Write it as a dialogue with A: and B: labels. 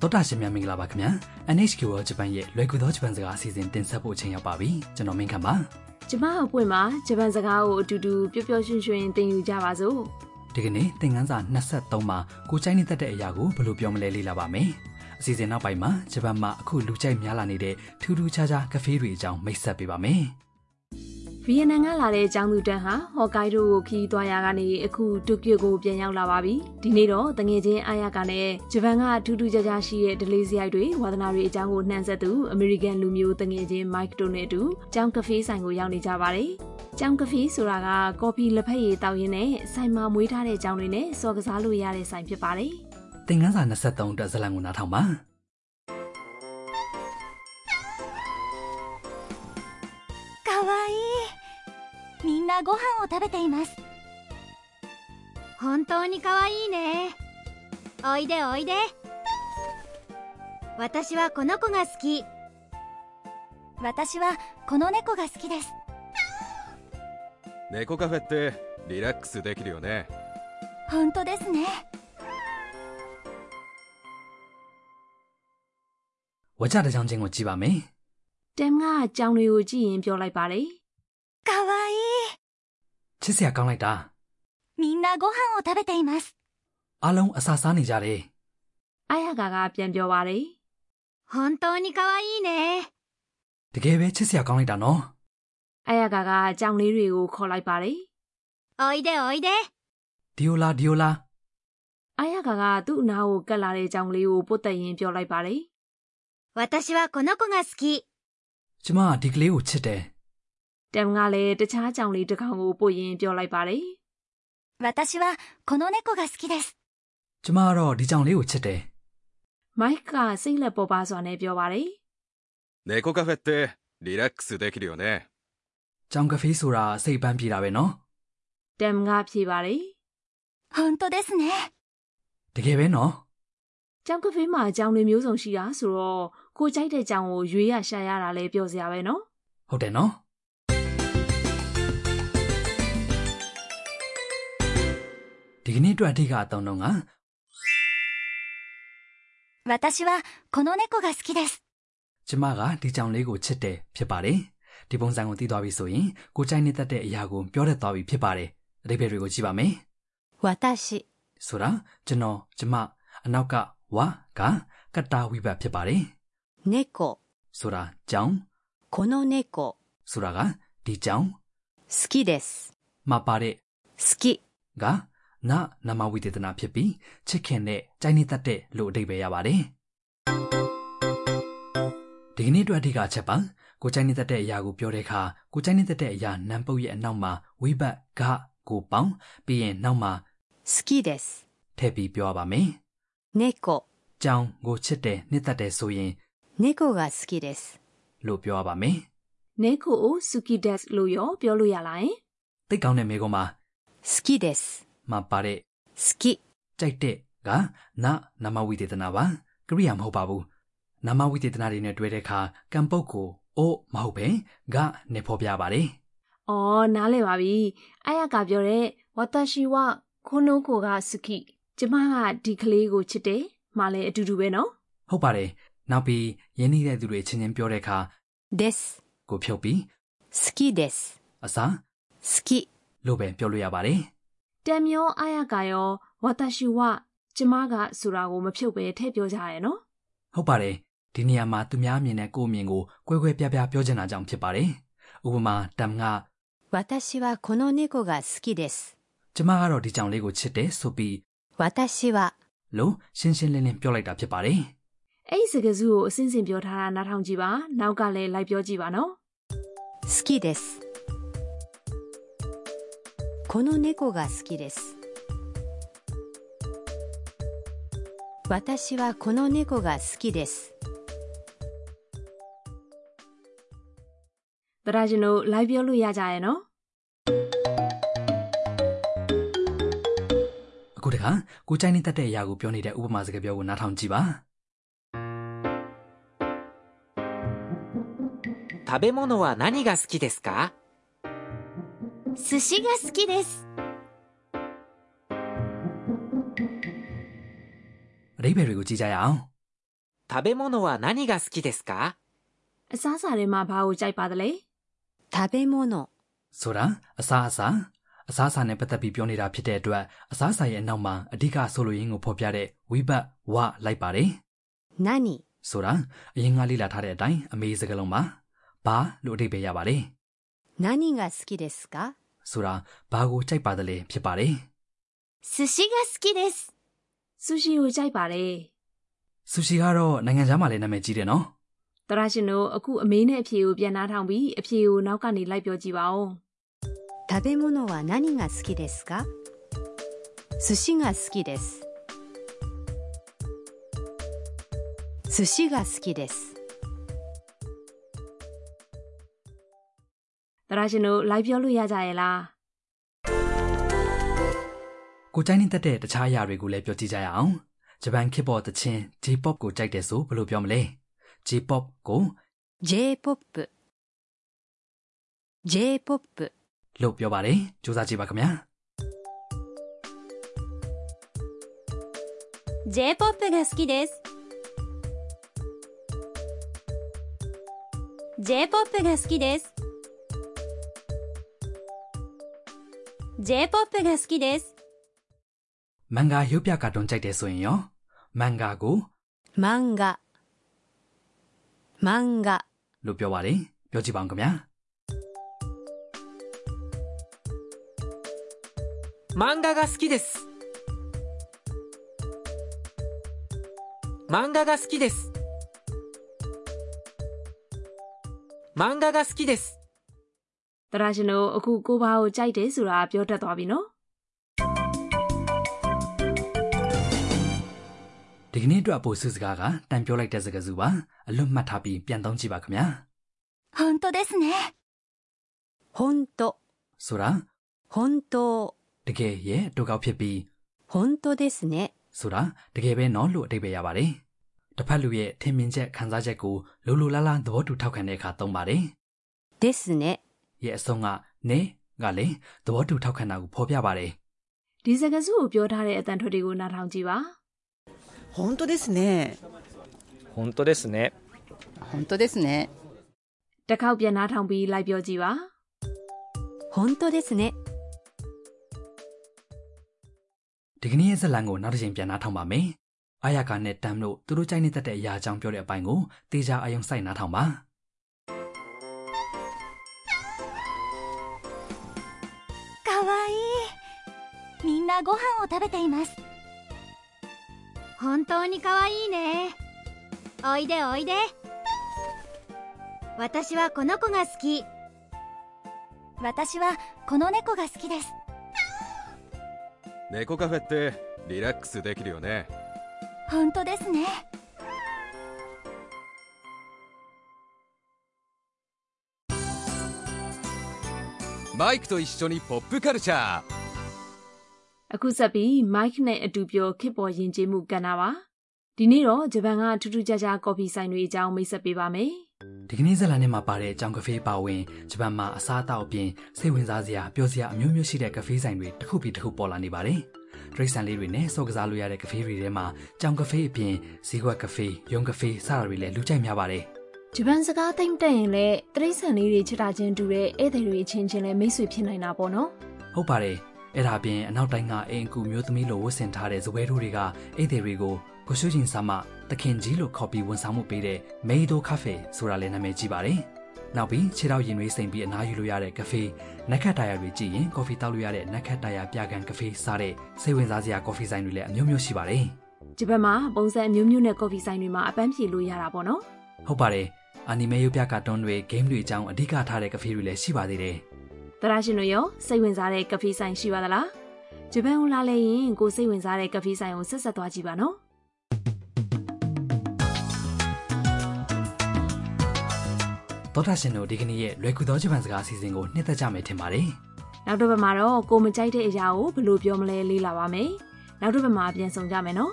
A: တောတာရှင်များမင်္ဂလာပါခင်ဗျာ NHK World Japan ရဲ့လွယ်ကူသောဂျပန်စကားအစီအစဉ်တင်ဆက်ဖို့အချိန်ရောက်ပါပြီကျွန်တော်မင်းခမ်းပါ
B: ကျမအပွင့်မှာဂျပန်စကားကိုအတူတူပျော်ပျော်ရွှင်ရွှင်သင်ယူကြပါစို့
A: ဒီကနေ့သင်ခန်းစာ23မှာကိုချိုင်းနေတတ်တဲ့အရာကိုဘယ်လိုပြောမလဲလေ့လာပါမယ်အစီအစဉ်နောက်ပိုင်းမှာဂျပန်မှာအခုလူကြိုက်များလာနေတဲ့ထူးထူးခြားခြားကဖေးတွေအကြောင်းမိတ်ဆက်ပေးပါမယ်
B: ဗီယက်နမ်ကလာတဲ့ကျောင်းသူတန်းဟာဟော့ကိုင်ဒိုကိုခရီးသွားရာကနေအခုတိုကျိုကိုပြန်ရောက်လာပါပြီဒီနေ့တော့တငယ်ချင်းအာရကနဲ့ဂျပန်ကထူးထူးခြားခြားရှိတဲ့ဒလေးစရိုက်တွေဝါသနာတွေအကြောင်းကိုနှံဆက်သူအမေရိကန်လူမျိုးတငယ်ချင်းမိုက်တိုနဲ့အတူကျောင်းကဖေးဆိုင်ကိုရောက်နေကြပါတယ်ကျောင်းကဖေးဆိုတာကကော်ဖီလက်ဖက်ရည်တောက်ရင်းနဲ့ဆိုင်မှာမွေးထားတဲ့ကျောင်းတွေနဲ့စော်ကစားလို့ရတဲ့ဆိုင်ဖြစ်ပါတယ်
A: သင်ခန်းစာ23အတွက်ဇာတ်လမ်းကိုနားထောင်ပါ
C: かわいいみんなご飯を食べています本当にかわいいねおいでおいで私はこの子が好き私はこの猫が好きです
D: 猫カフェってリラックスできるよね
C: 本当ですね
A: ဝါကြတစ်ကြောင်းချင်းကိုကြည့်ပါမယ်
B: တမ်ကကြောင်တွေကိုကြည့်ရင်ပြောလိုက်ပါတယ်
C: かわいい
A: ချစ်စရာကောင်းလိုက်တာ
C: みんなご飯を食べています
A: အားလုံးအစာစားနေကြတယ်
B: ။အာရကာကပြန်ပြောပါတယ်
C: 本当にかわいいね
A: တကယ်ပဲချစ်စရာကောင်းလိုက်တာနော်
B: ။အာရကာကကြောင်လေးတွေကိုခေါ်လိုက်ပါတယ်
C: おいでおいで
A: ဒီယိုလာဒီယိုလာ
B: ။အာရကာကသူ့အနားကိုကပ်လာတဲ့ကြောင်လေးကိုပုတ်တက်ရင်ပြောလိုက်ပါတယ်
C: 私はこの子が好き
A: ကျမကဒီကလေးကိုချစ်တယ်
B: ။တမ်ကလည်းတခြားကြောင်လေးတစ်ကောင်ကိုပုတ်ရင်ပြောလိုက်ပါတယ်
C: 私はこの猫が好きです
A: ကျမကတော့ဒီကြောင်လေးကိုချစ်တယ်
B: ။မိုက်ကစိတ်လက်ပေါ်ပါစွာနဲ့ပြောပါတယ်
D: 猫カフェってリラックスできるよね
A: ကြောင်ကဖေးဆိုတာစိတ်ပန်းပြေတာပဲနော်
B: ။တမ်ကဖြေပါတယ်
C: 本当ですね
A: တကယ်ပဲနော်
B: ။ကြောင်ကဖေးမှာကြောင်တွေမျိုးစုံရှိတာဆိုတော့ကိုကြိုက်တဲ့ကြောင်ကိုရွေးရရှာရတာလည်းပြောစရာပဲနော်
A: ဟုတ်တယ်နော်ဒီကနေ့အတွက်အဓိကအသုံးတော့က
C: 私はこの猫が好きです
A: ကျမကဒီကြောင်လေးကိုချစ်တယ်ဖြစ်ပါတယ်ဒီပုံစံကိုသိသွားပြီဆိုရင်ကိုကြိုက်နေတတ်တဲ့အရာကိုပြောတတ်သွားပြီဖြစ်ပါတယ်အဓိပ္ပာယ်တွေကိုကြည့်ပါမယ်
C: 私
A: ဆိုတာကျွန်တော်ကျမအနောက်ကဝါကကတ္တာဝိဘတ်ဖြစ်ပါတယ်
C: 猫
A: ဆိုတာကြောင်
C: この猫
A: ဆိုတာကဒီကြောင်
C: 好きです
A: မှာပါတဲ့
C: 好き
A: ကနာနာမဝိသေသနာဖြစ်ပြီးချစ်ခင်နဲ့ကြိုင်နေတတ်တဲ့လို့အဓိပ္ပာယ်ရပါတယ်ဒီကနေ့အတွက်အဓိကအချက်ပါကိုကြိုင်နေတတ်တဲ့အရာကိုပြောတဲ့အခါကိုကြိုင်နေတတ်တဲ့အရာနံပုတ်ရဲ့အနောက်မှာဝိဘတ်ကကိုပေါင်းပြီးရင်နောက်မှာ
C: 好きです
A: ထည့်ပြီးပြောရပါမယ်
C: 猫
A: ကြောင်ကိုချစ်တယ်နှစ်သက်တယ်ဆိုရင်
C: 猫が好きです
A: လို့ပြောရပါမယ်
B: ။နဲကိုကိုဆူကီဒက်စ်လို့ရောပြောလို့ရလားယင်
A: သိတ်ကောင်းတဲ့မိကုံးမှာ
C: 好きです
A: မှပါတဲ့
C: 好き
A: ကြိုက်တဲ့ကနာနာမဝိသေသနာပါကရိယာမဟုတ်ပါဘူးနာမဝိသေသနာတွေနဲ့တွဲတဲ့အခါကံပုတ်ကိုအိုမဟုတ်ပဲကနဲ့ဖော်ပြပါတယ်
B: ။အော်နားလည်ပါပြီ။အာရကပြောတဲ့ဝတရှိဝခိုနိုကိုကစုခိကျမကဒီကလေးကိုချစ်တယ်။မလည်းအတူတူပဲနော်
A: ဟုတ်ပါတယ်နောက်ပြီးယင်းနေတဲ့သူတွေချင်းချင်းပြောတဲ့အခါ
C: です
A: ကိုဖြုတ်ပြီး
C: 好きです
A: အစာ
C: 好き
A: လို့ပဲပြောလို့ရပါတယ်
B: ။တမ်ယောအာရကရောဝတရှိဝကျမကဆိုတာကိုမဖြုတ်ပဲထည့်ပြောကြရယ်နော်
A: ဟုတ်ပါတယ်ဒီနေရာမှာသူများအမြင်နဲ့ကိုယ့်အမြင်ကိုကွဲကွဲပြားပြားပြောချင်တာကြောင့်ဖြစ်ပါတယ်ဥပမာတမ်က
C: 私はこの猫が好きです
A: ကျမကတော့ဒီကြောင်လေးကိုချစ်တယ်ဆိုပြီး
C: 私は
A: လို့ရှင်းရှင်းလင်းလင်းပြောလိုက်တာဖြစ်ပါတယ်
B: ။အဲ့ဒီစကားစုကိုအစဉ်စဉ်ပြောထားတာနားထောင်ကြည့်ပါ။နောက်ကလည်းလိုက်ပြောကြည့်ပါနော်
C: 好きですこの猫が好きです私はこの猫が好きです
B: ။တရားရှင်တို့လိုက်ပြောလို့ရကြရယ်နော်
A: အခုတခါကိုကြိုင်နေတတ်တဲ့အရာကိုပြောနေတဲ့ဥပမာစကားပြောကိုနားထောင်ကြည့်ပါ
E: 食べ物は何が好きですか
C: 寿司が好きです
A: အဓိပ္ပာယ်တွေကိုကြည့်ကြရအောင်
E: 食べ物は何が好きですか
B: အစားအစာတွေမှာဘာကိုကြိုက်ပါသလဲ
F: 食べ物、
A: ဆိုတာအစားအစာအစားအစာနဲ့ပတ်သက်ပြီးပြောနေတာဖြစ်တဲ့အတွက်အစားအစာရဲ့အနောက်မှာအဓိကဆိုလိုရင်းကိုဖော်ပြတဲ့ဝိဘတ်ဝလိုက်ပါတယ်
F: 何、
A: ဆိုတာအရင်ကလေ့လာထားတဲ့အတိုင်းအမေစကားလုံးမှာဘာလို့အဓိပ္ပာယ်ရပါတယ်
F: 何が好きですか
A: ဆိုတာဘာကိုကြိုက်ပါသလဲဖြစ်ပါတယ်
C: 寿司が好きです
B: ဆူရှီကိုကြိုက်ပါတယ်
A: ဆူရှီကတော့နိုင်ငံခြားမှာလည်းနာမည်ကြီးတယ်နော်
B: တရရှင်တို့အခုအမေနဲ့အဖေကိုပြန်နားထောင်ပြီးအဖေကိုနောက်ကနေလိုက်ပြောကြည့်ပါဦး
F: 食べ物は何が好きですか寿司が好きです。寿司が好きです。
B: တရရှင်တို့လိုက်ပြောလို့ရကြရဲ့လား
A: ကိုကြိုက်နေတဲ့တဲ့တခြားအရာတွေကိုလည်းပြောကြည့်ကြရအောင်ဂျပန်ခေတ်ပေါ်သချင်း J-pop ကိုကြိုက်တယ်ဆိုဘယ်လိုပြောမလဲ J-pop ကို
F: J-POP J-POP
A: လို့ပြောပါတယ်စူးစမ်းကြည့်ပါခင်ဗျာ
C: J-POP が好きです J-POP が好きです J-POP が好きです
A: မန်ဂါရုပ်ပြကာတွန်းကြိုက်တယ်ဆိုရင်ရောမန်ဂါကို
F: 漫画漫画
A: လို့ပြောပါတယ်ပြောကြည့်ပါဦးခင်ဗျာ
E: 漫画が好きです。漫画が好きです。漫画が好きです。
B: တရရှင်တို့အခုကိုဘာကိုကြိုက်တယ်ဆိုတာပြောတတ်သွားပြီနော်
A: ဒီကနေ့အတွက်အပိုစုစကားကတန်ပြောလိုက်တဲ့စကားစုပါအလွတ်မှတ်ထားပြီးပြန်သုံးကြည့်ပါခင်ဗျာ
C: 本当ですね
F: 本当
A: ဆိုတာ
F: 本当
A: တကယ်ရဲ့အတူကောက်ဖြစ်ပြီး
F: 本当ですね
A: ဆိုတာတကယ်ပဲနော်လို့အတိတ်ပဲရပါတယ်တစ်ဖက်လူရဲ့ထင်မြင်ချက်ခံစားချက်ကိုလိုလိုလားလားသဘောတူထောက်ခံတဲ့အခါသုံးပါတယ်
F: ですね
A: ရဲ့အဆုံးကနေကလည်းသဘောတူထောက်ခံတာကိုဖော်ပြပါတယ်
B: ဒီစကားစုကိုပြောထားတဲ့အတန်ထွက်တွေကိုနားထောင်ကြည့်ပါ
G: 本当ですね
H: 本当ですね
G: 本当ですね
B: တစ်ခေါက်ပြန်နားထောင်ပြီးလိုက်ပြောကြည့်ပါ
F: 本当ですね
A: ဒီကနေ့ရဲ့ဇာတ်လမ်းကိုနောက်တစ်ချိန်ပြန်နှားထောင်ပါမယ်အာယာကာနဲ့တမ်တို့သူတို့ကြိုက်နေတတ်တဲ့အရာအကြောင်းပြောတဲ့အပိုင်းကိုတေချာအယုံစိုက်နှားထောင်ပါ
C: かわいいみんなご飯を食べています本当にかわいいねおいでおいで私はこの子が好き私はこの猫が好きです
D: 猫カフェってリラックスできるよね
C: 本当ですね
D: マイクと一緒にポップカルチャー
B: အခုဆက်ပြီး Mike နဲ့အတူပြောခစ်ပေါ်ယဉ်ကျေးမှုကဏ္ဍပါဒီနေ့တော့ဂျပန်ကထူးထူးခြားခြားကော်ဖီဆိုင်တွေအကြောင်းမိတ်ဆက်ပေးပါမယ်
A: ဒီကနေ့ဇတ်လန်ထဲမှာပါတဲ့အကြောင်းကဖေးပါဝင်ဂျပန်မှာအစားအသောက်အပြင်စိတ်ဝင်စားစရာပျော်စရာအမျိုးမျိုးရှိတဲ့ကဖေးဆိုင်တွေတစ်ခုပြီးတစ်ခုပေါ်လာနေပါတယ်။ဒရိတ်ဆန်လေးတွေနဲ့စော်ကစားလို့ရတဲ့ကဖေးတွေထဲမှာကြောင်ကဖေးအပြင်ဈေးကွက်ကဖေး၊ရုံကဖေးစတာတွေလည်းလူကြိုက်များပါတယ်
B: ဂျပန်စကားသိမ့်တက်ရင်လည်းတရိတ်ဆန်လေးတွေချစ်တာချင်းတူတဲ့ဧည့်သည်တွေအချင်းချင်းလည်းမိတ်ဆွေဖြစ်နိုင်တာပေါ့နော်
A: ။ဟုတ်ပါတယ်။အဲ့ဒါအပြင်အနောက်တိုင်းကအိမ်အကူမျိုးသမီးလိုဝတ်ဆင်ထားတဲ့ဇပွဲတို့တွေကအိတ်တွေကိုကိုရှုချင်းစာမတခင်ကြီးလို့ခေါ်ပြီးဝန်ဆောင်မှုပေးတဲ့မေဒိုကာဖေဆိုတာလည်းနာမည်ကြီးပါတယ်။နောက်ပြီးခြေထောက်ရင်တွေစိမ်ပြီးအနားယူလို့ရတဲ့ကဖေး နက်ခတ်တာယာတွေကြည့်ရင်ကော်ဖီတောက်လို့ရတဲ့နက်ခတ်တာယာပြကန်ကဖေးစားတဲ့စိတ်ဝင်စားစရာကော်ဖီဆိုင်တွေလည်းအမျိုးမျိုးရှိပါတယ်
B: ဂျပန်မှာပုံစံအမျိုးမျိုးနဲ့ကော်ဖီဆိုင်တွေမှာအပန်းဖြေလို့ရတာပေါ့နော်
A: ။ဟုတ်ပါတယ်။အာနီမေရုပ်ပြကာတွန်းတွေဂိမ်းတွေအကြောင်းအဓိကထားတဲ့ကဖေးတွေလည်းရှိပါသေးတယ်
B: တရရှင်တို့ရောစိတ်ဝင်စားတဲ့ကဖေးဆိုင်ရှိပါသလားဂျပန်ကိုလာလဲရင်ကိုယ်စိတ်ဝင်စားတဲ့ကဖေးဆိုင်ကိုဆက်ဆက်သွားကြည့်ပါနော်
A: ။သောတာရှင်တို့ဒီကနေ့ရဲ့လွယ်ကူသောဂျပန်စကားအစီအစဉ်ကိုနှစ်သက်ကြမယ်ထင်ပါတယ်
B: နောက်တစ်ပတ်မှာတော့ကိုယ်မကြိုက်တဲ့အရာကိုဘယ်လိုပြောမလဲလေ့လာပါမယ်နောက်တစ်ပတ်မှာပြန်ဆောင်ကြမယ်နော်